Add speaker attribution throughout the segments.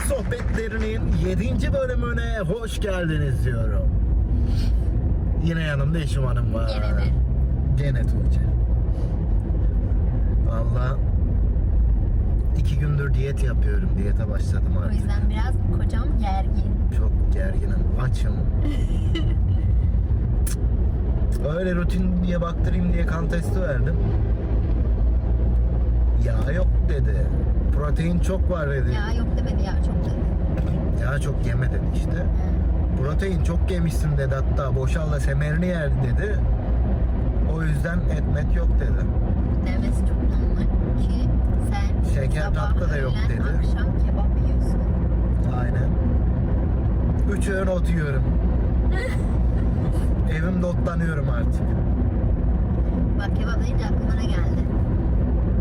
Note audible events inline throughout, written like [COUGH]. Speaker 1: Sohbetlerinin 7. bölümüne hoş geldiniz diyorum. Yine yanımda Eşim Hanım var.
Speaker 2: Gene de.
Speaker 1: Gene Tuğçe. Valla iki gündür diyet yapıyorum. Diyete başladım
Speaker 2: O
Speaker 1: artık.
Speaker 2: yüzden biraz kocam gergin.
Speaker 1: Çok gerginim,
Speaker 2: [LAUGHS]
Speaker 1: açım. Öyle rutin diye baktırayım diye kan testi verdim. Yağ yok dedi. Protein çok var dedi.
Speaker 2: Ya yok demedi ya çok dedi.
Speaker 1: Yağ çok yeme dedi işte.
Speaker 2: Ha.
Speaker 1: Protein çok yemişsin dedi hatta boşal da semerini yer dedi. O yüzden etmet yok dedi.
Speaker 2: Demesi çok normal ki sen
Speaker 1: Şeker,
Speaker 2: sabah,
Speaker 1: tatlı da yok
Speaker 2: öğlen,
Speaker 1: dedi.
Speaker 2: akşam kebap yiyorsun.
Speaker 1: Aynen. Üç öğün ot yiyorum.
Speaker 2: [LAUGHS]
Speaker 1: Evimde otlanıyorum artık.
Speaker 2: Bak kebap deyince aklıma ne geldi?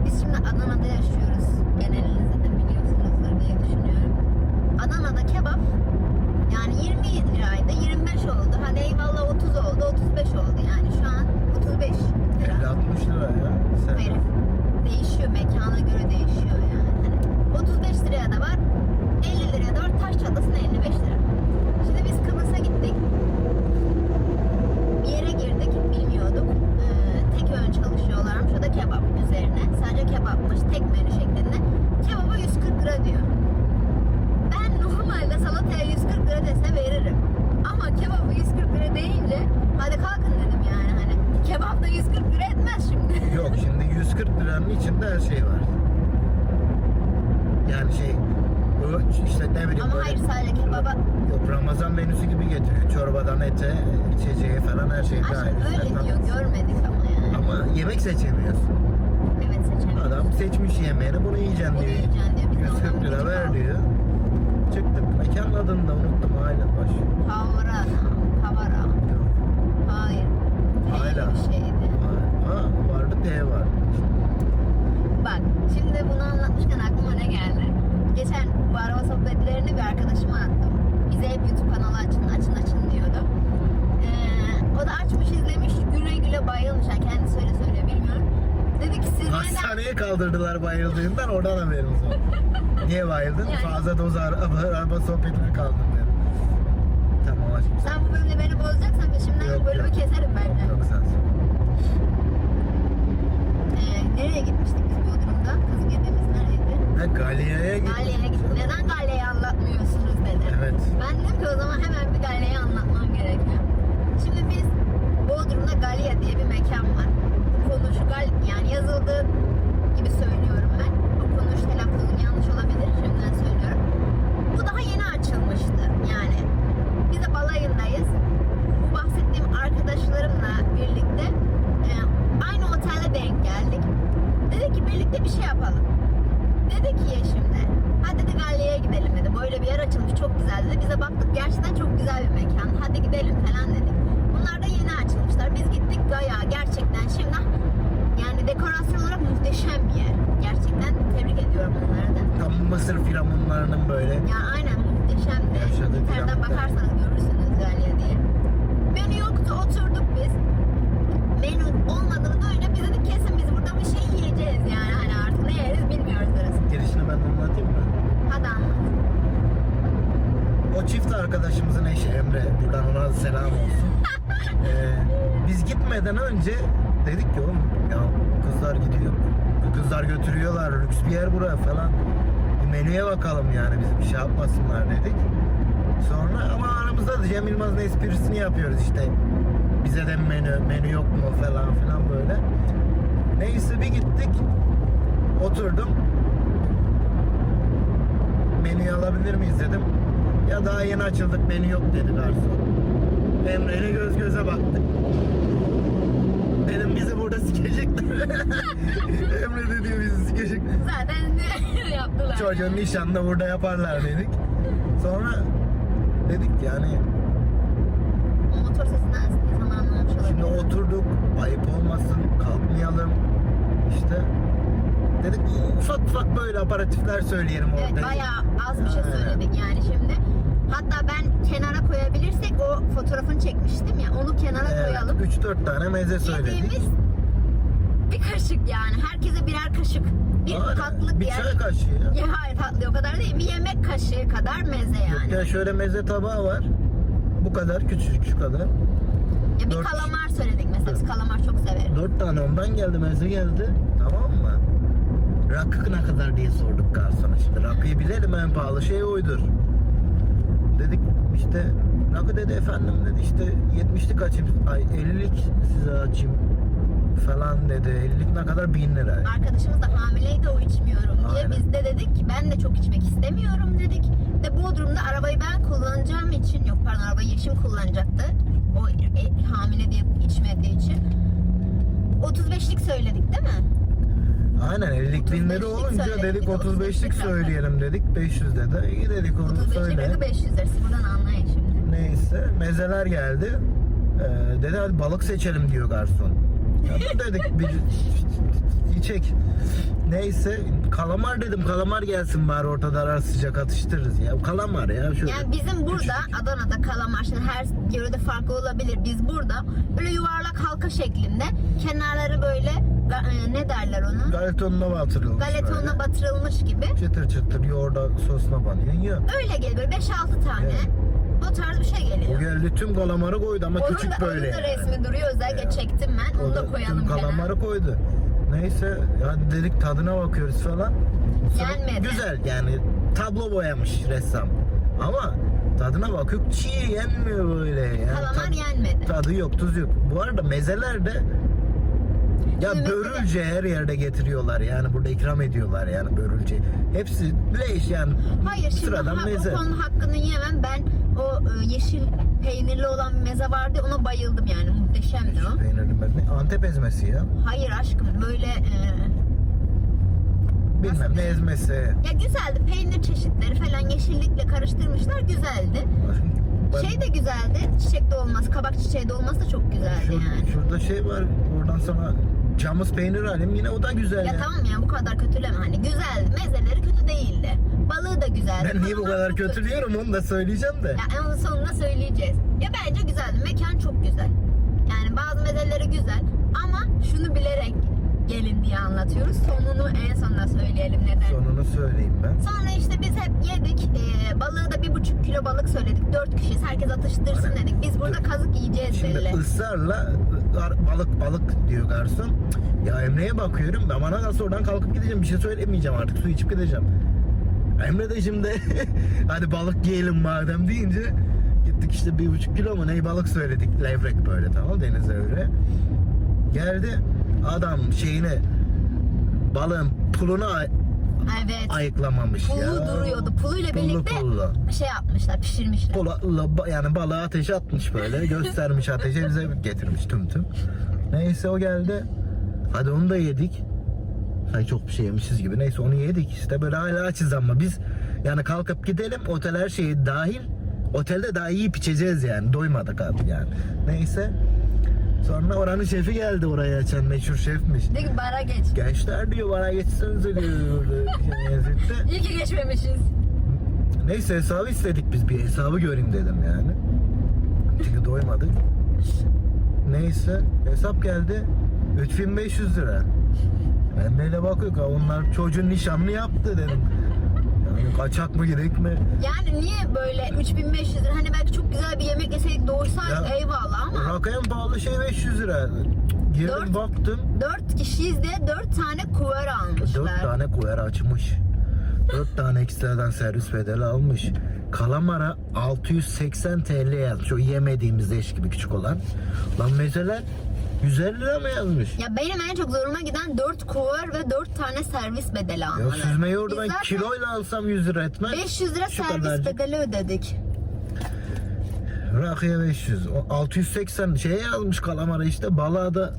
Speaker 2: Biz şimdi Adana'da yaşıyoruz. Genelini zaten biliyorsunuzdur diye düşünüyorum. Adana'da kebap yani 20 liraydı 25 oldu. Hadi eyvallah 30 oldu 35 oldu yani şu an 35 lira.
Speaker 1: 50-60 lira ya. Sen...
Speaker 2: Hayır. Değişiyor. Mekana göre değişiyor yani. Hani 35 liraya da var. 50 liraya da var. Taş çatlasına 55 lira. Şimdi biz Kıbrıs'a gittik. Bir yere girdik. Bilmiyorduk. Ee, tek öğün çalışıyorlarmış. O da kebap üzerine. Sadece kebapmış. Tek menü şeklinde. Kebaba 140 lira diyor. Ben normalde salataya 140 lira dese veririm. Ama kebabı 140 lira deyince hadi kalkın dedim yani hani. Kebap da 140 lira etmez şimdi. [LAUGHS]
Speaker 1: Yok şimdi 140 liranın içinde her şey var. Yani şey ölç işte ne bileyim
Speaker 2: Ama
Speaker 1: böyle-
Speaker 2: hayır sadece kebaba.
Speaker 1: Yok Ramazan menüsü gibi getiriyor. Çorbadan ete, içeceğe falan her şey
Speaker 2: Aşkım
Speaker 1: dahil.
Speaker 2: öyle
Speaker 1: Zaten-
Speaker 2: diyor görmedik ama yani.
Speaker 1: Ama yemek seçemiyorsun.
Speaker 2: Evet seçelim.
Speaker 1: Adam seçmiş yemeğini bunu yiyeceksin
Speaker 2: Bunu
Speaker 1: diyor.
Speaker 2: yiyeceksin diyor. Biz de
Speaker 1: 140 lira
Speaker 2: ondan gıcık
Speaker 1: ver
Speaker 2: aldık.
Speaker 1: diyor. Çıktık. Mekanın adını da unuttum. Hala baş.
Speaker 2: Kavara. Kavara.
Speaker 1: Yok.
Speaker 2: Hayır.
Speaker 1: Hala.
Speaker 2: Hala. Bir şeydi.
Speaker 1: Ha, vardı T var.
Speaker 2: Bak şimdi bunu anlatmışken aklıma ne geldi? Geçen bu araba sohbetlerini bir arkadaşıma attım. Bize hep YouTube kanalı açın açın açın diyordu. Ee, o da açmış izlemiş güle güle bayılmış. Yani kendisi öyle söylüyor bilmiyorum. Dedi ki siz neden
Speaker 1: Hastaneye kaldırdılar bayıldığından oradan haberimiz var. Niye bayıldın?
Speaker 2: Yani-
Speaker 1: Fazla doz araba, araba sohbetine kaldım dedim. Tamam aşkım sen.
Speaker 2: sen bu bölümde beni bozacaksan peşimden
Speaker 1: Yok,
Speaker 2: bu bölümü
Speaker 1: yok.
Speaker 2: keserim ben de.
Speaker 1: Yok sensin.
Speaker 2: Ee, nereye gitmiştik biz Bodrum'da? Kız gitmemiz neredeydi?
Speaker 1: Ha Galya'ya gittik.
Speaker 2: Galya'ya gittik. Neden Galya'yı anlatmıyorsunuz dedi.
Speaker 1: Evet.
Speaker 2: Ben dedim ki o zaman hemen bir Galya'yı anlatmam gerekiyor. Şimdi biz Bodrum'da Galya diye bir mekan var. Konuş Gal yani yazıldığı gibi söylüyorum ben. O konuş telaffuzum yanlış olabilir şimdiden söylüyorum. Bu daha yeni açılmıştı yani. Biz de balayındayız. Bu bahsettiğim arkadaşlarımla birlikte e, aynı otelde denk geldik. Dedi ki birlikte bir şey yapalım. Dedi ki Yeşim'de. Hadi dedi Galya'ya gidelim dedi. Böyle bir yer açılmış çok güzel dedi. Bize baktık gerçekten çok güzel bir mekan. Hadi gidelim falan dedik. Bunlar da yeni açılmışlar. Biz gittik Gaya gerçekten şimdi ah, yani dekorasyon olarak muhteşem bir yer. Gerçekten tebrik ediyorum onları da.
Speaker 1: Tam Mısır firavunlarının böyle.
Speaker 2: Ya aynen muhteşemdi.
Speaker 1: Yaşadık
Speaker 2: İnternetten
Speaker 1: yaptık.
Speaker 2: bakarsanız görürsünüz Galya diye. Menü yoktu oturduk biz. Menü olmadığını duyunca biz dedik kesin biz burada bir şey yiyeceğiz yani hani artık ne yeriz bilmiyoruz orası.
Speaker 1: Girişini ben anlatayım mı?
Speaker 2: Hadi anlat.
Speaker 1: O çift arkadaşımızın eşi Emre. Buradan ona selam olsun. Ee, biz gitmeden önce dedik ki oğlum ya kızlar gidiyor. Kızlar götürüyorlar. Lüks bir yer bura falan. Bir menüye bakalım yani bizim bir şey yapmasınlar dedik. Sonra ama aramızda da Cem Yılmaz'ın esprisini yapıyoruz işte. Bize de menü, menü yok mu falan filan böyle. Neyse bir gittik. Oturdum. Menüyü alabilir miyiz dedim. Ya daha yeni açıldık menü yok dedi garson. Emre'yle göz göze baktık. Dedim bizi burada sikecekler. [LAUGHS] Emre de diyor bizi sikecekler.
Speaker 2: Zaten [LAUGHS] ne yaptılar?
Speaker 1: Çocuğun nişanını burada yaparlar dedik. Sonra dedik ki yani
Speaker 2: O motor sesinden zaman anlamış olabilir.
Speaker 1: şimdi oturduk ayıp olmasın kalkmayalım işte dedik ufak ufak böyle aparatifler söyleyelim orada.
Speaker 2: Evet bayağı az bir şey
Speaker 1: Ha.
Speaker 2: söyledik yani şimdi. Hatta ben kenara koyabilirsek o fotoğrafını çekmiştim ya onu kenara
Speaker 1: Evet,
Speaker 2: koyalım.
Speaker 1: 3-4 tane meze söyledik.
Speaker 2: Yediğimiz bir kaşık yani. Herkese birer kaşık. Bir
Speaker 1: Aynen.
Speaker 2: tatlık
Speaker 1: Bir
Speaker 2: yani.
Speaker 1: çay kaşığı ya.
Speaker 2: Ya hayır tatlı o kadar değil. Bir yemek kaşığı kadar meze yani.
Speaker 1: Ya şöyle meze tabağı var. Bu kadar küçücük şu kadar.
Speaker 2: Ya bir
Speaker 1: dört-
Speaker 2: kalamar söyledik mesela. Biz
Speaker 1: Evet.
Speaker 2: kalamar çok severiz.
Speaker 1: Dört tane ondan geldi meze geldi. Tamam mı? Rakı ne kadar diye sorduk garsona. Şimdi rakıyı bilelim en pahalı şey oydur. Dedik işte rakı dedi efendim dedi işte 70'lik açayım. Ay 50'lik size açayım falan dedi. 50'lik ne kadar 1000 lira.
Speaker 2: Arkadaşımız da hamileydi o içmiyorum diye.
Speaker 1: Aynen.
Speaker 2: Biz de dedik ki ben de çok içmek istemiyorum dedik. De Bodrum'da arabayı ben kullanacağım için yok pardon arabayı Yeşim kullanacaktı. O e, hamile diye içmediği için. 35'lik söyledik değil mi?
Speaker 1: Aynen 50'lik 1000 lira
Speaker 2: 35'lik
Speaker 1: olunca
Speaker 2: söyledik,
Speaker 1: dedik
Speaker 2: bir de
Speaker 1: 35'lik
Speaker 2: 35'lik rakı.
Speaker 1: söyleyelim dedik. 500 dedi. İyi dedik onu
Speaker 2: 35'lik
Speaker 1: söyle.
Speaker 2: rakı 500 lirası. Buradan anlayın şimdi.
Speaker 1: Neyse mezeler geldi. Ee, dedi hadi balık seçelim diyor garson. Ya dur dedik bir [LAUGHS] içek. Neyse kalamar dedim kalamar gelsin bari ortada arar sıcak atıştırırız ya. Kalamar ya şöyle.
Speaker 2: Yani bizim burada
Speaker 1: Küçük.
Speaker 2: Adana'da kalamar şimdi her yörede farklı olabilir. Biz burada böyle yuvarlak halka şeklinde kenarları böyle ga- e, ne derler onu?
Speaker 1: Galetonuna batırılmış.
Speaker 2: Galetonla
Speaker 1: böyle.
Speaker 2: batırılmış gibi.
Speaker 1: Çıtır çıtır yoğurda sosuna banıyorsun ya.
Speaker 2: Öyle geliyor 5-6 tane.
Speaker 1: Evet.
Speaker 2: O tarz bir şey
Speaker 1: O
Speaker 2: geliyor.
Speaker 1: geldi tüm kalamarı koydu ama
Speaker 2: Onun
Speaker 1: küçük
Speaker 2: da,
Speaker 1: böyle.
Speaker 2: onun da
Speaker 1: yani.
Speaker 2: resmi duruyor özellikle
Speaker 1: Ya.
Speaker 2: çektim ben. Onu da koyalım
Speaker 1: tüm
Speaker 2: kenara.
Speaker 1: kalamarı koydu. Neyse hadi dedik tadına bakıyoruz falan.
Speaker 2: Yenmedi.
Speaker 1: Güzel yani tablo boyamış ressam. Ama tadına bakıp çiğ yenmiyor böyle. Yani
Speaker 2: Kalamar
Speaker 1: Tad-
Speaker 2: yenmedi.
Speaker 1: Tadı yok, tuz yok. Bu arada mezeler de ya
Speaker 2: Şimdi mesela-
Speaker 1: börülce her yerde getiriyorlar yani burada ikram ediyorlar yani börülce. Hepsi leş yani
Speaker 2: Hayır şimdi
Speaker 1: sıradan
Speaker 2: ha-
Speaker 1: meze.
Speaker 2: o konunun hakkını yemem. Ben o e, yeşil peynirli olan bir meze vardı ya, ona bayıldım yani muhteşemdi o.
Speaker 1: Peynirli meze. Antep ezmesi ya.
Speaker 2: Hayır aşkım böyle e,
Speaker 1: Bilmem ne
Speaker 2: şey?
Speaker 1: ezmesi.
Speaker 2: ya güzeldi peynir çeşitleri falan yeşillikle karıştırmışlar güzeldi.
Speaker 1: Ben-
Speaker 2: Şey de güzeldi çiçek dolması kabak çiçeği dolması da çok güzeldi
Speaker 1: Şur-
Speaker 2: yani.
Speaker 1: Şurada şey var. Oradan sana camız peynir alayım. Yine o da güzel.
Speaker 2: Ya
Speaker 1: ya.
Speaker 2: tamam ya bu kadar kötüleme hani güzeldi mezeleri kötü değildi. Balığı da güzeldi.
Speaker 1: Ben niye bu
Speaker 2: Kalamar
Speaker 1: kadar
Speaker 2: çok
Speaker 1: kötü diyorum onu da söyleyeceğim de.
Speaker 2: Ya en sonunda söyleyeceğiz. Ya bence güzeldi. Mekan çok güzel. Yani bazı mezeleri güzel ama şunu bilerek gelin diye anlatıyoruz. Sonunu en sonunda söyleyelim neden.
Speaker 1: Sonunu söyleyeyim ben.
Speaker 2: Sonra işte biz hep yedik. Ee, balığı da bir buçuk kilo balık söyledik. Dört kişiyiz. Herkes atıştırsın
Speaker 1: Aynen.
Speaker 2: dedik. Biz burada
Speaker 1: Dur.
Speaker 2: kazık yiyeceğiz
Speaker 1: Şimdi
Speaker 2: belli.
Speaker 1: ısrarla gar- balık balık diyor garson. Ya Emre'ye bakıyorum. Ben bana nasıl oradan kalkıp gideceğim. Bir şey söylemeyeceğim artık. Su içip gideceğim. Emre de şimdi [LAUGHS] hadi balık yiyelim madem deyince gittik işte bir buçuk kilo mu ne balık söyledik. Levrek böyle tamam denize öyle. Geldi adam şeyini balığın pulunu ay-
Speaker 2: Evet.
Speaker 1: ayıklamamış ya.
Speaker 2: Pulu duruyordu. Puluyla
Speaker 1: Pullu
Speaker 2: birlikte
Speaker 1: pullu.
Speaker 2: şey yapmışlar, pişirmişler.
Speaker 1: Kola, la- ba- yani balığı ateşe atmış böyle. Göstermiş ateşe bize getirmiş tüm tüm. Neyse o geldi. Hadi onu da yedik. Hay çok bir şey yemişiz gibi. Neyse onu yedik işte böyle hala açız ama biz yani kalkıp gidelim otel her şeyi dahil. Otelde daha iyi içeceğiz yani. Doymadık abi yani. Neyse. Sonra oranın şefi geldi oraya açan meşhur şefmiş.
Speaker 2: Dedi ki bara geç.
Speaker 1: Gençler diyor bana geçsenize diyor böyle şey yazıttı.
Speaker 2: İyi ki geçmemişiz.
Speaker 1: Neyse hesabı istedik biz bir hesabı göreyim dedim yani. Çünkü doymadık. Neyse hesap geldi 3500 lira. Ben böyle bakıyor ki onlar çocuğun nişanını yaptı dedim. Yani kaçak mı gidek mi?
Speaker 2: Yani niye böyle 3500 lira? Hani belki çok güzel bir yemek yeseydik doğursaydık
Speaker 1: Ya-
Speaker 2: eyvallah ama
Speaker 1: Rakı en pahalı şey 500 lira. Girdim
Speaker 2: Dört-
Speaker 1: baktım
Speaker 2: 4 kişiyiz diye 4 tane kuver
Speaker 1: 4
Speaker 2: almışlar.
Speaker 1: tane kuyar açmış. 4 tane ekstradan servis bedeli almış. Kalamara 680 TL yazmış. O yemediğimiz leş gibi küçük olan. Lan mezeler 150 lira mı yazmış?
Speaker 2: Ya benim en çok zoruma giden 4 kuver ve 4 tane servis bedeli
Speaker 1: Ya
Speaker 2: almaları.
Speaker 1: süzme yoğurdu
Speaker 2: Biz
Speaker 1: ben
Speaker 2: zaten
Speaker 1: kiloyla alsam 100 lira etmez.
Speaker 2: 500 lira
Speaker 1: Şu
Speaker 2: servis
Speaker 1: kadarcık.
Speaker 2: bedeli ödedik.
Speaker 1: Rakıya 500. O 680 şeye şey yazmış kalamara işte. Balığa da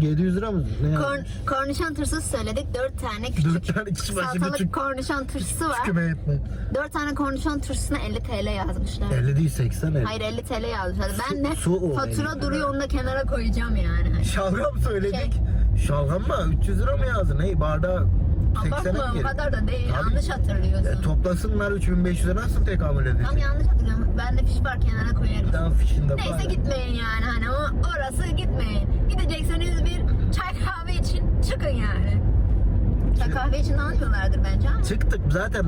Speaker 1: 700 lira mı? Ne
Speaker 2: Korn,
Speaker 1: yazmış?
Speaker 2: kornişon tırsız söyledik. 4 tane
Speaker 1: Dört
Speaker 2: küçük
Speaker 1: tane kişi başı
Speaker 2: salatalık
Speaker 1: küçük-
Speaker 2: kornişon tırsısı var.
Speaker 1: Küme etme.
Speaker 2: 4 tane kornişon tırsısına 50 TL yazmışlar.
Speaker 1: 50 değil 80 50.
Speaker 2: Hayır 50 TL yazmışlar. Ben de
Speaker 1: su o
Speaker 2: fatura
Speaker 1: 50
Speaker 2: duruyor onu da kenara koyacağım yani.
Speaker 1: Şalgam söyledik.
Speaker 2: Şey.
Speaker 1: Şalgam mı? 300 lira mı yazdı? Ney bardağı
Speaker 2: Abartma
Speaker 1: 80'e
Speaker 2: o
Speaker 1: mi
Speaker 2: kadar da değil.
Speaker 1: Abi,
Speaker 2: yanlış hatırlıyorsun.
Speaker 1: E, toplasınlar 3500 lira nasıl tekamül edecek?
Speaker 2: Tam yanlış hatırlıyorum. Ben de fiş var kenara koyarım.
Speaker 1: Daha fişinde
Speaker 2: Neyse
Speaker 1: bari.
Speaker 2: gitmeyin yani hani o orası gitmeyin. Gidecekseniz bir Çay kahve için çıkın yani. Çay
Speaker 1: Şimdi-
Speaker 2: kahve için almıyorlardır bence ama.
Speaker 1: Çıktık zaten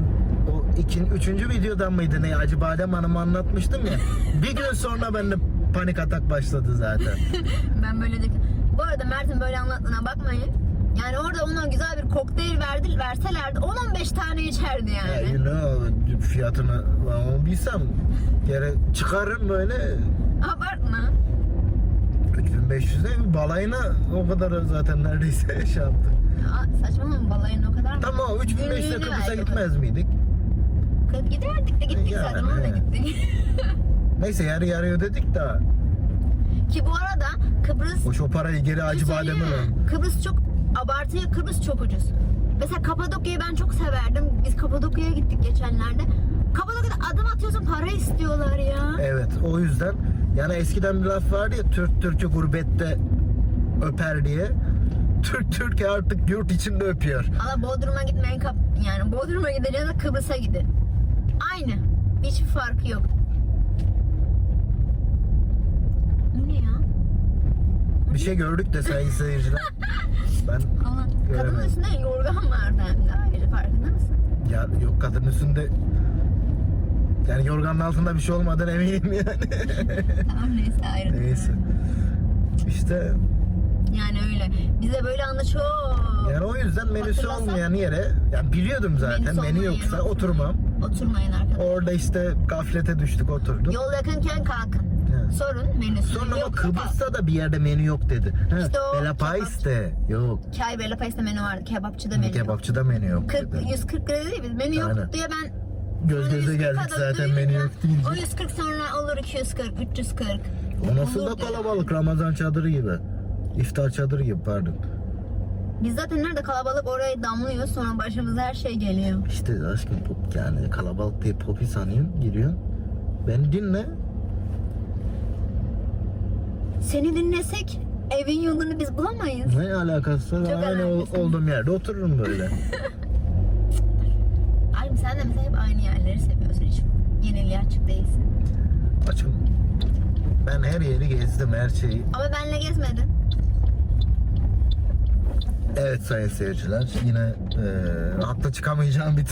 Speaker 1: o ikin, üçüncü videodan mıydı ne Acı Badem Hanım'ı anlatmıştım
Speaker 2: [LAUGHS]
Speaker 1: ya. bir gün sonra bende panik atak başladı
Speaker 2: [LAUGHS]
Speaker 1: zaten.
Speaker 2: Ben böyle de... Bu arada Mert'in böyle anlattığına bakmayın. Yani orada ona güzel bir kokteyl verdi, verselerdi 10-15 tane içerdi
Speaker 1: Ya,
Speaker 2: yani.
Speaker 1: you know, fiyatını ben onu bilsem yere çıkarım böyle
Speaker 2: Abartma.
Speaker 1: 3500'e balayına o kadar zaten neredeyse [LAUGHS] şey yaptı.
Speaker 2: Aa, saçmalama balayın o kadar mı?
Speaker 1: Tamam o 3500'e
Speaker 2: Günlüğünü
Speaker 1: Kıbrıs'a
Speaker 2: verdi.
Speaker 1: gitmez miydik?
Speaker 2: Kız giderdik de gittik
Speaker 1: Yani,
Speaker 2: zaten ona da
Speaker 1: evet.
Speaker 2: gittik.
Speaker 1: Neyse yarı yarı ödedik de
Speaker 2: Ki bu arada Kıbrıs
Speaker 1: o şu parayı geri
Speaker 2: Bir
Speaker 1: Acı
Speaker 2: şey
Speaker 1: Badem'e
Speaker 2: ya,
Speaker 1: ver.
Speaker 2: Kıbrıs çok abartıya Kıbrıs çok ucuz. Mesela Kapadokya'yı ben çok severdim. Biz Kapadokya'ya gittik geçenlerde. Kapadokya'da adım atıyorsun para istiyorlar ya.
Speaker 1: Evet o yüzden yani eskiden bir laf vardı ya Türk Türk'ü gurbette öper diye. Türk Türk'ü artık yurt içinde öpüyor.
Speaker 2: Valla Bodrum'a gitmeyin kap yani Bodrum'a gideceğine Kıbrıs'a gidin. Aynı. Hiçbir farkı yok. Bu ne ya?
Speaker 1: Bir şey gördük de sayın seyirciler. Ben
Speaker 2: Aman, Kadının
Speaker 1: Göremedim.
Speaker 2: üstünde yorgan vardı hem de ayrı farkında mısın?
Speaker 1: [LAUGHS] ya yok kadın üstünde yani yorganın altında bir şey olmadan eminim yani. [LAUGHS]
Speaker 2: Tamam neyse ayrı.
Speaker 1: Neyse. İşte
Speaker 2: Yani öyle. Bize böyle anda çok
Speaker 1: yani o yüzden menüsü
Speaker 2: Hatırlasam-
Speaker 1: olmayan yere yani biliyordum zaten
Speaker 2: Menüsü
Speaker 1: menü
Speaker 2: olmayan
Speaker 1: yoksa
Speaker 2: yere
Speaker 1: oturmam.
Speaker 2: Oturmayın arkadaşlar.
Speaker 1: Orada işte gaflete düştük oturduk.
Speaker 2: Yol yakınken kalkın.
Speaker 1: Evet.
Speaker 2: Sorun menüsü.
Speaker 1: Sonra ama
Speaker 2: Yoksa kalkın.
Speaker 1: Kıbrıs'ta da bir yerde menü yok dedi. Ha,
Speaker 2: İşte o
Speaker 1: Bela Pais de yok.
Speaker 2: Çay böyle pasta menü vardı. Kebapçıda menü. yok.
Speaker 1: Kebapçıda menü yok
Speaker 2: 40,
Speaker 1: dedi.
Speaker 2: 140 lira değil mi? Menü yok
Speaker 1: Aynen.
Speaker 2: diye ben
Speaker 1: Göz göze
Speaker 2: sonra 140
Speaker 1: geldik
Speaker 2: adam
Speaker 1: zaten
Speaker 2: duyunca,
Speaker 1: menü yok deyince.
Speaker 2: O 140 sonra olur 240, 340.
Speaker 1: O nasıl da
Speaker 2: Olur diyor.
Speaker 1: kalabalık Ramazan çadırı gibi. İftar çadırı gibi pardon.
Speaker 2: Biz zaten nerede kalabalık oraya damlıyor sonra başımıza her şey geliyor.
Speaker 1: İşte aşkım pop yani kalabalık diye popi sanıyorsun giriyorsun. Beni dinle.
Speaker 2: Seni dinlesek evin yolunu biz bulamayız.
Speaker 1: Ne alakası var?
Speaker 2: Çok
Speaker 1: Aynı ol-
Speaker 2: alakası.
Speaker 1: olduğum yerde otururum böyle.
Speaker 2: Ay sen de mesela hep aynı yerleri seviyorsun. Hiç yeniliğe açık değilsin.
Speaker 1: Açım. Ben her yeri gezdim her şeyi.
Speaker 2: Ama benle gezmedin.
Speaker 1: Evet sayın seyirciler yine eee hatta çıkamayacağım bir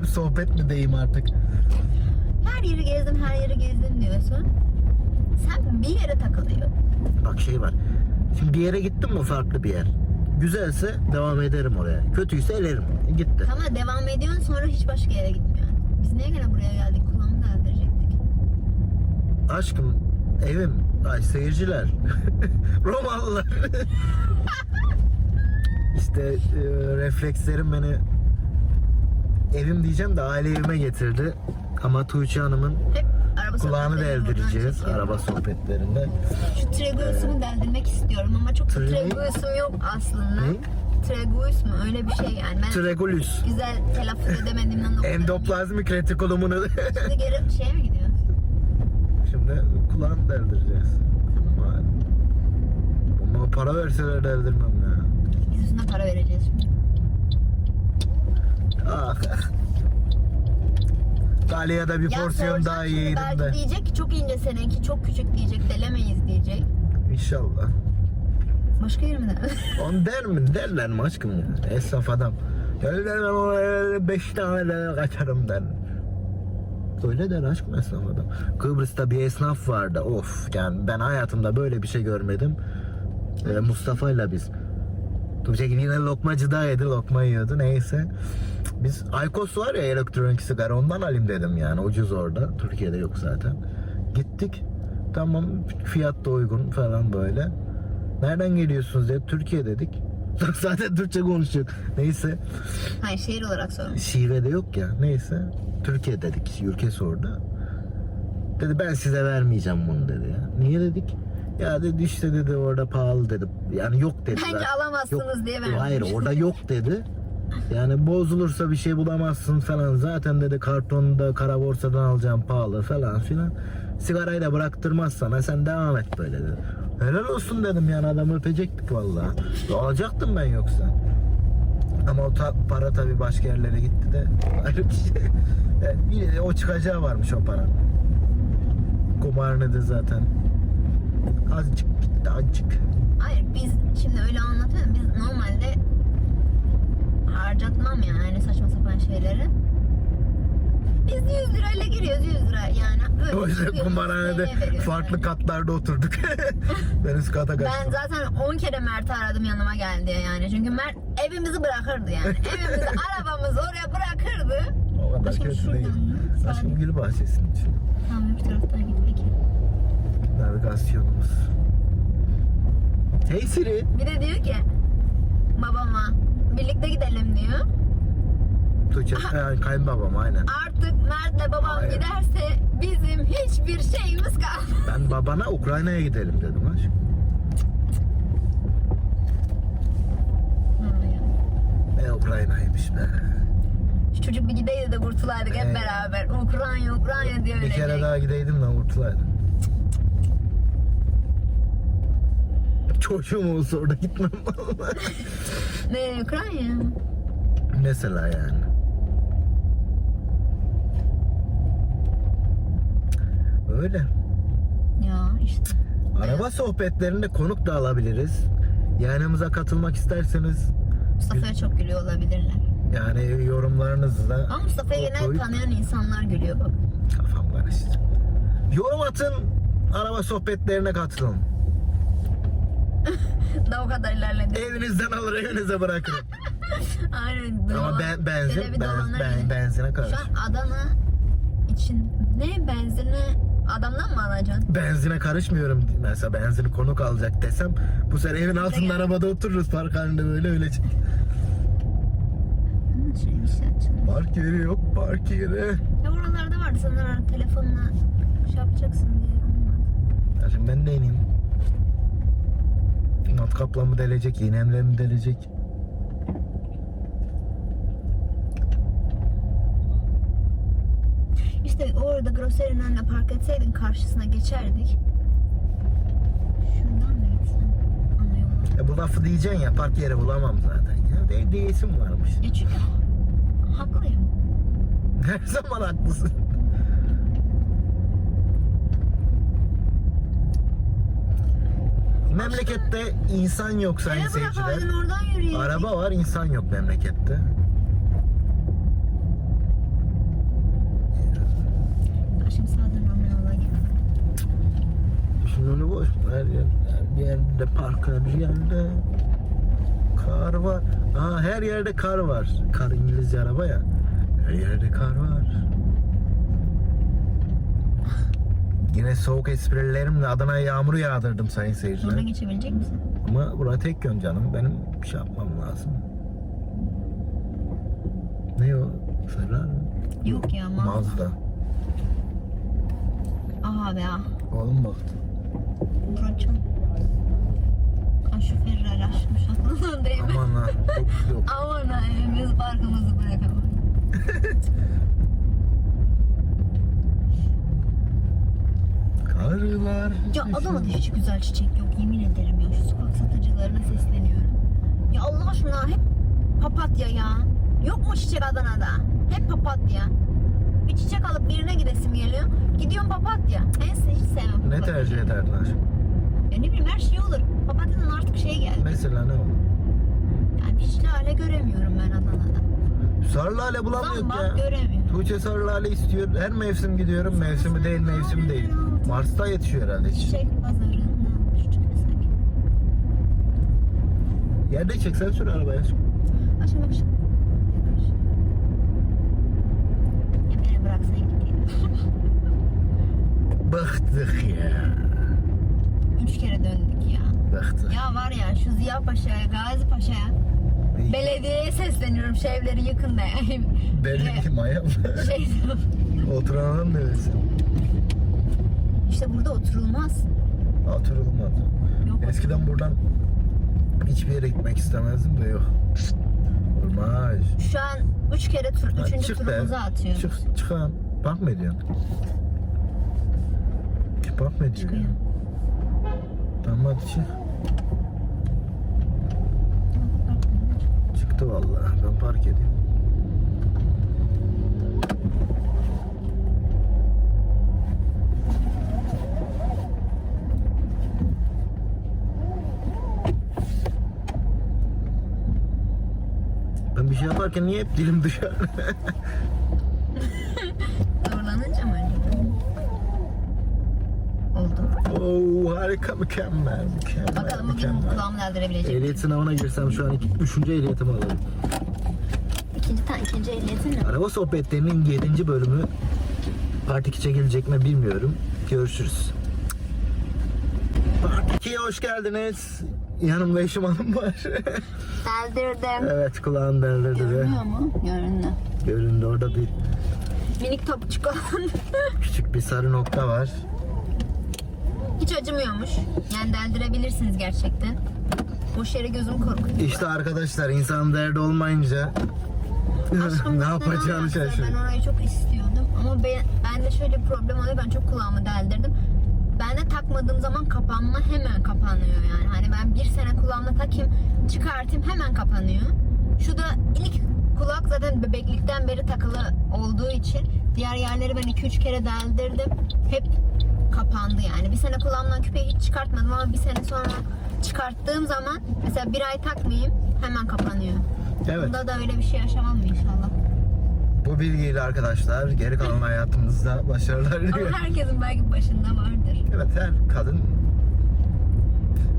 Speaker 1: bir [LAUGHS] sohbet mi diyeyim artık.
Speaker 2: Her yeri gezdim, her yeri gezdim diyorsun. Sen bir yere takılıyorsun.
Speaker 1: Bak şey var. Şimdi bir yere gittim mi farklı bir yer. Güzelse devam ederim oraya. Kötüyse elerim. E, Gitti.
Speaker 2: Tamam da devam ediyorsun sonra hiç başka yere gitmiyorsun. Biz niye gene buraya geldik? Kulağımı da eldirecektik.
Speaker 1: Aşkım, evim, ay seyirciler, [LAUGHS] Romalılar. [LAUGHS] işte e, reflekslerim beni evim diyeceğim de aile evime getirdi. Ama Tuğçe Hanım'ın
Speaker 2: Hep araba
Speaker 1: kulağını
Speaker 2: sohbetleri buradan
Speaker 1: deldireceğiz
Speaker 2: çekiyorum.
Speaker 1: araba sohbetlerinde.
Speaker 2: Şu treguisumu deldirmek istiyorum ama çok da
Speaker 1: Tregu-
Speaker 2: treguisum yok aslında.
Speaker 1: Ne?
Speaker 2: Treguis mu? Öyle bir şey yani. Ben
Speaker 1: Tregulus.
Speaker 2: güzel telaffuz
Speaker 1: [LAUGHS]
Speaker 2: edemediğimden dolayı.
Speaker 1: Endoplazmik retikulumunu
Speaker 2: Şimdi geri şeye mi gidiyorsun?
Speaker 1: [LAUGHS] şimdi kulağını deldireceğiz. Vay. Ama para verseler deldirmem ya.
Speaker 2: Biz üstüne para vereceğiz şimdi.
Speaker 1: Ah. Galya'da bir
Speaker 2: Ya
Speaker 1: porsiyon
Speaker 2: sorsan
Speaker 1: daha
Speaker 2: şimdi
Speaker 1: yedim
Speaker 2: belki
Speaker 1: de.
Speaker 2: diyecek ki çok ince seninki, çok küçük diyecek, delemeyiz diyecek.
Speaker 1: İnşallah.
Speaker 2: Başka yer mi de?
Speaker 1: On der mi? Derler mi aşkım ya? Esnaf adam. Öyle der ben ona beş tane de kaçarım der. Öyle der aşkım esnaf adam. Kıbrıs'ta bir esnaf vardı. Of yani ben hayatımda böyle bir şey görmedim. Ee, Mustafa'yla biz. Tuğçe gibi yine lokmacıda yedi, lokma yiyordu neyse. Biz Aykos var ya elektronik sigara ondan alayım dedim yani ucuz orada. Türkiye'de yok zaten. Gittik. Tamam fiyat da uygun falan böyle. Nereden geliyorsunuz dedi. Türkiye dedik. [LAUGHS] zaten Türkçe konuşuyor. Neyse.
Speaker 2: Hayır şehir olarak sormuş.
Speaker 1: Şive de yok ya. Neyse. Türkiye dedik. Ülkesi orada. Dedi ben size vermeyeceğim bunu dedi ya. Niye dedik? Ya dedi işte dedi orada pahalı dedi. Yani yok dedi.
Speaker 2: Bence
Speaker 1: zaten.
Speaker 2: alamazsınız diye vermiş.
Speaker 1: Hayır orada yok dedi. Yani bozulursa bir şey bulamazsın falan. Zaten dedi kartonda kara borsadan alacağım pahalı falan filan. Sigarayı da bıraktırmaz sana sen devam et böyle dedi. Helal olsun dedim yani adamı öpecektik vallahi. Alacaktım ben yoksa. Ama o ta- para tabii başka yerlere gitti de [LAUGHS] ayrı bir şey. Yani yine de o çıkacağı varmış o para. Kumarını da zaten Azıcık gitti
Speaker 2: [LAUGHS]
Speaker 1: azıcık.
Speaker 2: Hayır biz şimdi öyle anlatıyorum. Biz normalde harcatmam yani öyle saçma sapan şeyleri. Biz 100 lirayla giriyoruz 100 lira yani. Öyle
Speaker 1: O yüzden
Speaker 2: çıkıyoruz,
Speaker 1: kumarhanede
Speaker 2: neye veriyoruz
Speaker 1: farklı
Speaker 2: yani.
Speaker 1: katlarda oturduk. [LAUGHS] ben üst kata
Speaker 2: Ben
Speaker 1: kaçtım.
Speaker 2: zaten 10 kere Mert'i aradım yanıma geldi yani. Çünkü Mert evimizi
Speaker 1: [LAUGHS]
Speaker 2: bırakırdı yani. evimizi, arabamızı oraya bırakırdı.
Speaker 1: O kadar
Speaker 2: Aşkım
Speaker 1: kötü
Speaker 2: şuradan
Speaker 1: değil.
Speaker 2: ya, sadece.
Speaker 1: Aşkım gül bahçesinin için.
Speaker 2: Tamam bir taraftan gittik.
Speaker 1: Navigasyonumuz. Hey Siri.
Speaker 2: Bir de diyor ki babama birlikte gidelim diyor.
Speaker 1: Tuğçe, ha, kayınbabam aynen.
Speaker 2: Artık Mert'le babam
Speaker 1: Hayır.
Speaker 2: giderse bizim hiçbir şeyimiz kalmaz.
Speaker 1: Ben babana Ukrayna'ya gidelim dedim aşkım. E Ukrayna'ymış be.
Speaker 2: Şu çocuk bir gideydi de kurtulaydık hep
Speaker 1: Evet.
Speaker 2: beraber. Ukrayna Ukrayna diye
Speaker 1: Bir
Speaker 2: ölecek.
Speaker 1: kere daha gideydim ben kurtulaydım. Çocuğum olsa orada gitmem vallahi.
Speaker 2: Ne Ukrayna?
Speaker 1: Mesela yani. Öyle.
Speaker 2: Ya işte.
Speaker 1: Araba sohbetlerinde konuk da alabiliriz. Yayınımıza katılmak isterseniz
Speaker 2: Mustafa'ya çok gülüyor olabilirler.
Speaker 1: yani yorumlarınızla
Speaker 2: Ama Mustafa'yı genel
Speaker 1: Koyup-
Speaker 2: tanıyan insanlar gülüyor bak. [LAUGHS]
Speaker 1: kafam karıştı. Yorum atın, araba sohbetlerine katılın.
Speaker 2: Daha o kadar ilerledi.
Speaker 1: Evinizden alır, evinize bırakırım.
Speaker 2: Aynen.
Speaker 1: E, Ama
Speaker 2: dolan-
Speaker 1: ben,
Speaker 2: Selebi
Speaker 1: benzin, ben,
Speaker 2: dolanır
Speaker 1: ben,
Speaker 2: yine.
Speaker 1: benzine
Speaker 2: Şu
Speaker 1: karışır.
Speaker 2: an Adana için ne benzini adamdan mı alacaksın?
Speaker 1: Benzine karışmıyorum. Mesela benzini konuk alacak desem bu sefer evin altında
Speaker 2: gel.
Speaker 1: arabada otururuz park halinde böyle öyle. çek-
Speaker 2: Ama şöyle bir şey açalım.
Speaker 1: Park yeri yok, park yeri.
Speaker 2: Ya oralarda vardı sanırım telefonla şey yapacaksın diye olmadı.
Speaker 1: Ya şimdi ben de ineyim. Matkapla mı delecek, iğnemle mi delecek?
Speaker 2: İşte orada groserinin önüne park etseydin karşısına geçerdik. Şuradan mı gitsin? Ana yola.
Speaker 1: E bu lafı diyeceksin ya park yeri bulamam zaten. Ya de, diyesim varmış. [LAUGHS]
Speaker 2: Ya çünkü haklıyım.
Speaker 1: Her zaman haklısın. Memlekette insan yok sayın
Speaker 2: Eve bırakaydın
Speaker 1: seyirciler.
Speaker 2: oradan yürüyelim.
Speaker 1: Araba var insan yok memlekette.
Speaker 2: Aşkım sağdan ana yola git.
Speaker 1: Şimdi onu boş ver. Her, yer, her yerde park her yerde. Kar var. Aa, her yerde kar var. Kar İngilizce araba ya. Her yerde kar var. Yine soğuk esprilerimle Adana'ya yağmuru yağdırdım sayın seyirciler.
Speaker 2: Buradan geçebilecek misin?
Speaker 1: Ama bura tek yön canım. Benim bir şey yapmam lazım. Ne o? Ferrari mi?
Speaker 2: Yok ya ma.
Speaker 1: Mazda.
Speaker 2: Aha be ah.
Speaker 1: Oğlum baktı.
Speaker 2: Murat'cığım. Ay şu Ferrari açmış [LAUGHS] aklından değil mi?
Speaker 1: Aman ha. Yok, yok.
Speaker 2: Aman ha evimiz barkımızı bırakalım.
Speaker 1: Karılar.
Speaker 2: Ya adamın hiç güzel çiçek yok yemin ederim ya. Şu sokak satıcılarına sesleniyorum. Ya Allah aşkına hep papatya ya. Yok mu çiçek Adana'da? Hep papatya. Bir çiçek alıp birine gidesim geliyor. Gidiyorum papatya. Ben sizi hiç sevmem.
Speaker 1: Ne
Speaker 2: papatya.
Speaker 1: tercih ederdin aşkım?
Speaker 2: Ya ne bileyim her şey olur. Papatyadan artık şey geldi.
Speaker 1: Mesela ne olur?
Speaker 2: Yani hiç lale göremiyorum ben Adana'da.
Speaker 1: Sarı lale bulamıyoruz
Speaker 2: Zambak
Speaker 1: ya.
Speaker 2: göremiyorum.
Speaker 1: Tuğçe sarı lale istiyor. Her mevsim gidiyorum. Mevsimi değil mevsim değil. Mars'ta yetişiyor herhalde. hiç.
Speaker 2: Çiçek pazarından küçük bir sakin.
Speaker 1: Yerde çeksen sür arabaya.
Speaker 2: Aşağı bak şu. Ya beni bıraksan gideyim.
Speaker 1: Bıktık ya.
Speaker 2: Üç kere döndük ya.
Speaker 1: Bıktık.
Speaker 2: Ya var ya şu Ziya Paşa'ya, Gazi Paşa'ya. Belediyeye sesleniyorum şu evleri yıkın da yani.
Speaker 1: Belli ki maya.
Speaker 2: [LAUGHS]
Speaker 1: [LAUGHS]
Speaker 2: Şey,
Speaker 1: Oturan adam neresi?
Speaker 2: işte burada oturulmaz.
Speaker 1: Oturulmaz.
Speaker 2: Yok.
Speaker 1: Eskiden buradan hiçbir yere gitmek istemezdim de yok. Olmaz.
Speaker 2: Şu an üç kere tur,
Speaker 1: Ha,
Speaker 2: üçüncü
Speaker 1: çık be.
Speaker 2: turumuzu atıyoruz.
Speaker 1: Çık, çıkan. Park mı ediyorsun? Ki park mı ediyor?
Speaker 2: Çıkıyor.
Speaker 1: ya? Tamam hadi çık. Çıktı vallahi. Ben park edeyim. şey yaparken niye hep dilim dışarı? [LAUGHS]
Speaker 2: Zorlanınca mı acaba? Oldu.
Speaker 1: Oo harika mükemmel mükemmel.
Speaker 2: Bakalım bugün
Speaker 1: mükemmel.
Speaker 2: kulağımı deldirebilecek. miyim?
Speaker 1: Ehliyet sınavına girsem şu an iki, üçüncü ehliyetimi alırım.
Speaker 2: İkinci tane ikinci ehliyetin mi?
Speaker 1: Araba sohbetlerinin 7. bölümü Part 2 çekilecek mi bilmiyorum. Görüşürüz. Part 2'ye hoş geldiniz. Yanımda eşim hanım var. [LAUGHS]
Speaker 2: Deldirdim.
Speaker 1: evet kulağım deldirdi ve
Speaker 2: Görünüyor mu? Göründü.
Speaker 1: göründü orada bir
Speaker 2: Minik topçuk olan.
Speaker 1: küçük bir sarı nokta var.
Speaker 2: [LAUGHS] Hiç acımıyormuş. Yani deldirebilirsiniz gerçekten. Boş yere gözüm korkuyor.
Speaker 1: İşte arkadaşlar insan derdi olmayınca [LAUGHS]
Speaker 2: Aşkım
Speaker 1: ne
Speaker 2: neden
Speaker 1: yapacağını
Speaker 2: olmazsa?
Speaker 1: şaşırıyor.
Speaker 2: Ben orayı çok istiyordum ama ben, ben de şöyle bir problem oluyor. Ben çok kulağımı deldirdim. Ben de takmadığım zaman kapanma hemen kapanıyor yani. Hani ben bir sene kulağımla takayım, çıkartayım hemen kapanıyor. Şu da ilk kulak zaten bebeklikten beri takılı olduğu için diğer yerleri ben 2-3 kere deldirdim. Hep kapandı yani. Bir sene kulağımdan küpeyi hiç çıkartmadım ama bir sene sonra çıkarttığım zaman mesela bir ay takmayayım hemen kapanıyor.
Speaker 1: Evet.
Speaker 2: Bunda da öyle bir şey yaşamam mı inşallah?
Speaker 1: Bu bilgiyle arkadaşlar geri kalan hayatımızda başarılar diliyorum.
Speaker 2: Ama herkesin belki başında vardır.
Speaker 1: Evet her kadın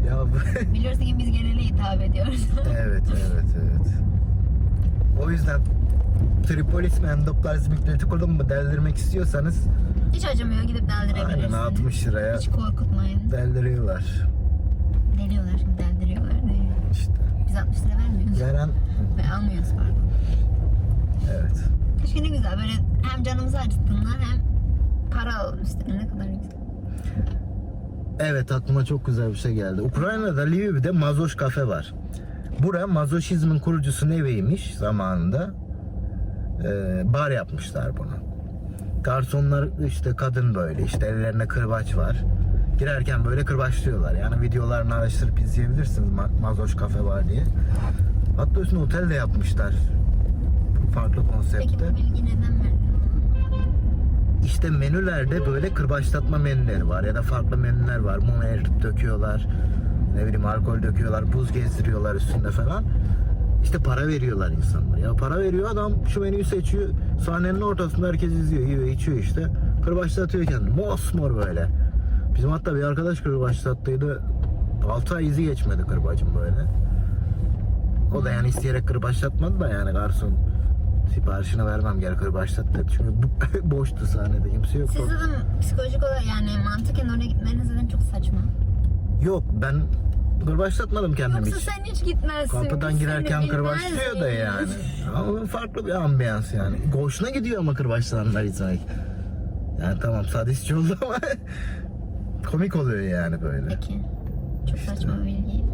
Speaker 1: ya bu
Speaker 2: Biliyorsun ki biz genele hitap ediyoruz.
Speaker 1: [LAUGHS]
Speaker 2: [LAUGHS]
Speaker 1: Evet, evet, evet. O yüzden Tripolis mi endoplazmik retikulum mu deldirmek istiyorsanız
Speaker 2: Hiç acımıyor gidip deldirebilirsiniz.
Speaker 1: aynen 60 liraya
Speaker 2: Hiç korkutmayın.
Speaker 1: deldiriyorlar.
Speaker 2: Deliyorlar şimdi deldiriyorlar diye.
Speaker 1: İşte
Speaker 2: Biz 60 lira vermiyoruz.
Speaker 1: veren
Speaker 2: Ve almıyoruz pardon.
Speaker 1: evet.
Speaker 2: Keşke ne güzel böyle hem canımızı acıttığından hem para alalım üstüne ne kadar güzel.
Speaker 1: Evet aklıma çok güzel bir şey geldi. Ukrayna'da Lviv'de Mazoş kafe var. Bura mazoşizmin kurucusu Neve'ymiş zamanında. Ee, bar yapmışlar bunu. Garsonlar işte kadın böyle işte ellerine kırbaç var. Girerken böyle kırbaçlıyorlar. Yani videolarını araştırıp izleyebilirsiniz Ma- Mazoş kafe var diye. Hatta üstüne otel de yapmışlar. Farklı konseptte.
Speaker 2: Peki bu bilgi neden verdin?
Speaker 1: İşte menülerde böyle kırbaçlatma menüleri var ya da farklı menüler var. Mum eritip döküyorlar. Ne bileyim alkol döküyorlar, buz gezdiriyorlar üstünde falan. İşte para veriyorlar insanlar. Ya para veriyor adam şu menüyü seçiyor. Sahnenin ortasında herkes izliyor, yiyor, içiyor işte. Kırbaçlatıyor kendini. Mosmor böyle. Bizim hatta bir arkadaş kırbaçlattıydı. 6 ay izi geçmedi kırbacın böyle. O da yani isteyerek kırbaçlatmadı da yani garson siparişini vermem gel kırbaçlat dedi. Çünkü bu- [LAUGHS] boştu sahnede kimse yoktu.
Speaker 2: Siz zaten psikolojik olarak yani mantıken oraya gitmeniz zaten çok saçma.
Speaker 1: Yok ben kırbaçlatmadım kendimi
Speaker 2: Yoksa
Speaker 1: hiç.
Speaker 2: sen hiç gitmezsin.
Speaker 1: Kapıdan
Speaker 2: biz
Speaker 1: girerken
Speaker 2: seni
Speaker 1: kırbaçlıyor da
Speaker 2: bilmez
Speaker 1: yani.
Speaker 2: miyiz?
Speaker 1: Ama farklı bir ambiyans yani. Hoşuna gidiyor ama kırbaçlananlar izlemek. Yani tamam sadistçi oldu ama [LAUGHS] komik oluyor yani böyle.
Speaker 2: Peki. Çok saçma bir bilgiydi.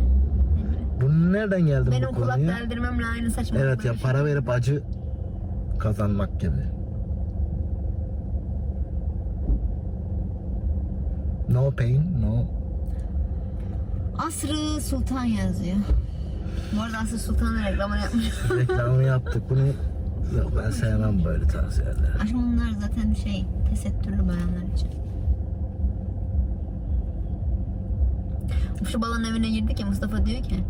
Speaker 1: Bunu nereden geldi
Speaker 2: Benim
Speaker 1: bu
Speaker 2: kulak
Speaker 1: konuya?
Speaker 2: deldirmemle aynı saçma.
Speaker 1: Evet ya
Speaker 2: konuşma.
Speaker 1: para verip acı kazanmak gibi. No pain, no.
Speaker 2: Asrı Sultan yazıyor. Bu arada Asrı Sultan'ın reklamını yapmış. [LAUGHS]
Speaker 1: Reklamını yaptık bunu. Yok ben sevmem böyle tarz yerleri.
Speaker 2: Aşkım bunlar zaten şey tesettürlü bayanlar için. Şu balanın evine girdik ya Mustafa diyor ki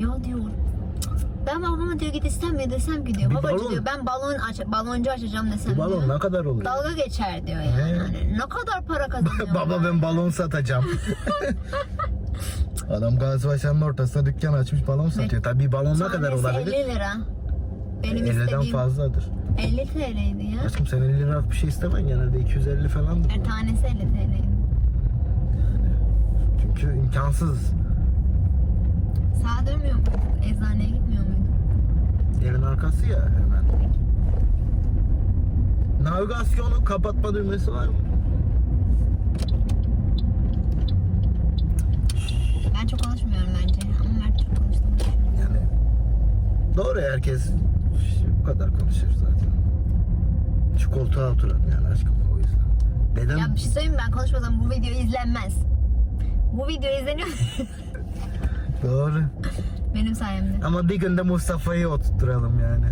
Speaker 2: ya diyor ben babama diyor git istemiyor desem ki diyor.
Speaker 1: Bir
Speaker 2: Babacı
Speaker 1: balon.
Speaker 2: diyor ben balon aç baloncu açacağım desem
Speaker 1: Bu balon
Speaker 2: diyor.
Speaker 1: ne kadar oluyor?
Speaker 2: Dalga geçer diyor yani.
Speaker 1: He.
Speaker 2: Hani ne kadar para
Speaker 1: [LAUGHS]
Speaker 2: kazanıyor.
Speaker 1: Baba ben balon satacağım.
Speaker 2: [LAUGHS]
Speaker 1: Adam Gazi Paşa'nın ortasına dükkan açmış balon satıyor. Tabii balon ne kadar
Speaker 2: Tanesi
Speaker 1: olabilir? E,
Speaker 2: 50 lira. Benim
Speaker 1: 50'den
Speaker 2: istediğim
Speaker 1: fazladır.
Speaker 2: 50 TL'ydi ya.
Speaker 1: Aşkım sen 50 lira bir şey istemen genelde 250 falandır.
Speaker 2: Yani tanesi 50 TL'ydi.
Speaker 1: Çünkü imkansız.
Speaker 2: Sağa dönmüyor muydun? Eczaneye gitmiyor muydun?
Speaker 1: Evin arkası ya hemen. Navigasyonu kapatma düğmesi var mı?
Speaker 2: Ben çok konuşmuyorum bence. Ama Mert çok konuştuğunu düşünüyorum.
Speaker 1: Yani doğru herkes bu kadar konuşur zaten. Şu koltuğa oturalım yani aşkım o yüzden. Dedem
Speaker 2: Ya bir şey söyleyeyim mi? Ben konuşmasam bu video izlenmez. Bu video izleniyor.
Speaker 1: doğru.
Speaker 2: [LAUGHS] Benim sayemde.
Speaker 1: Ama bir günde Mustafa'yı oturtturalım yani.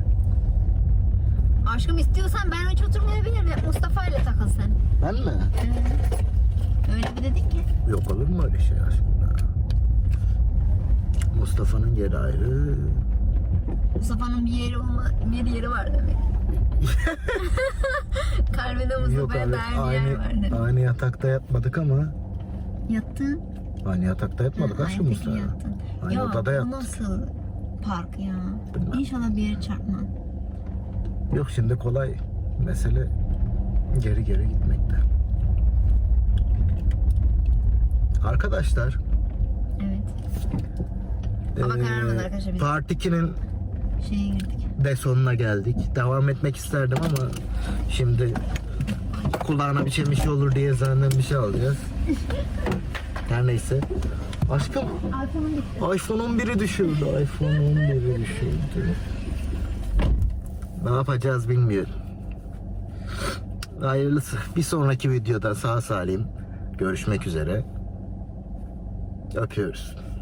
Speaker 2: Aşkım istiyorsan ben hiç oturmayabilirim. Mustafa ile takıl sen.
Speaker 1: Ben mi?
Speaker 2: Ee, öyle bir dedin ki.
Speaker 1: Yok olur mu öyle şey aşkım ya? Mustafa'nın yeri ayrı.
Speaker 2: Mustafa'nın bir yeri olma, bir yeri var demek. [LAUGHS] Kalbinde Mustafa'ya dair bir yer var demek.
Speaker 1: aynı, aynı yatakta yatmadık ama
Speaker 2: Yattın.
Speaker 1: aynı yatakta yatmadık
Speaker 2: Ha,
Speaker 1: aşkım
Speaker 2: aynı
Speaker 1: Mustafa.
Speaker 2: tekine yattın.
Speaker 1: Aynı
Speaker 2: ya,
Speaker 1: odada
Speaker 2: bu
Speaker 1: yattık.
Speaker 2: nasıl park ya?
Speaker 1: Bilmem.
Speaker 2: İnşallah bir yere çarpmam.
Speaker 1: Yok şimdi kolay mesele geri geri gitmekte. Arkadaşlar
Speaker 2: Evet. Hava kararmadı arkadaşlar, biz-
Speaker 1: Part 2'nin
Speaker 2: Şeye girdik.
Speaker 1: de sonuna geldik. Devam etmek isterdim ama şimdi kulağına biçen bir şey olur diye zanneden bir şey alacağız. Her neyse. Aşkım
Speaker 2: iPhone'um bitti.
Speaker 1: iPhone 11'i düşürdü. iPhone 11'i düşürdü. Ne yapacağız bilmiyorum. Hayırlısı. Bir sonraki videoda sağ salim görüşmek üzere. Öpüyoruz.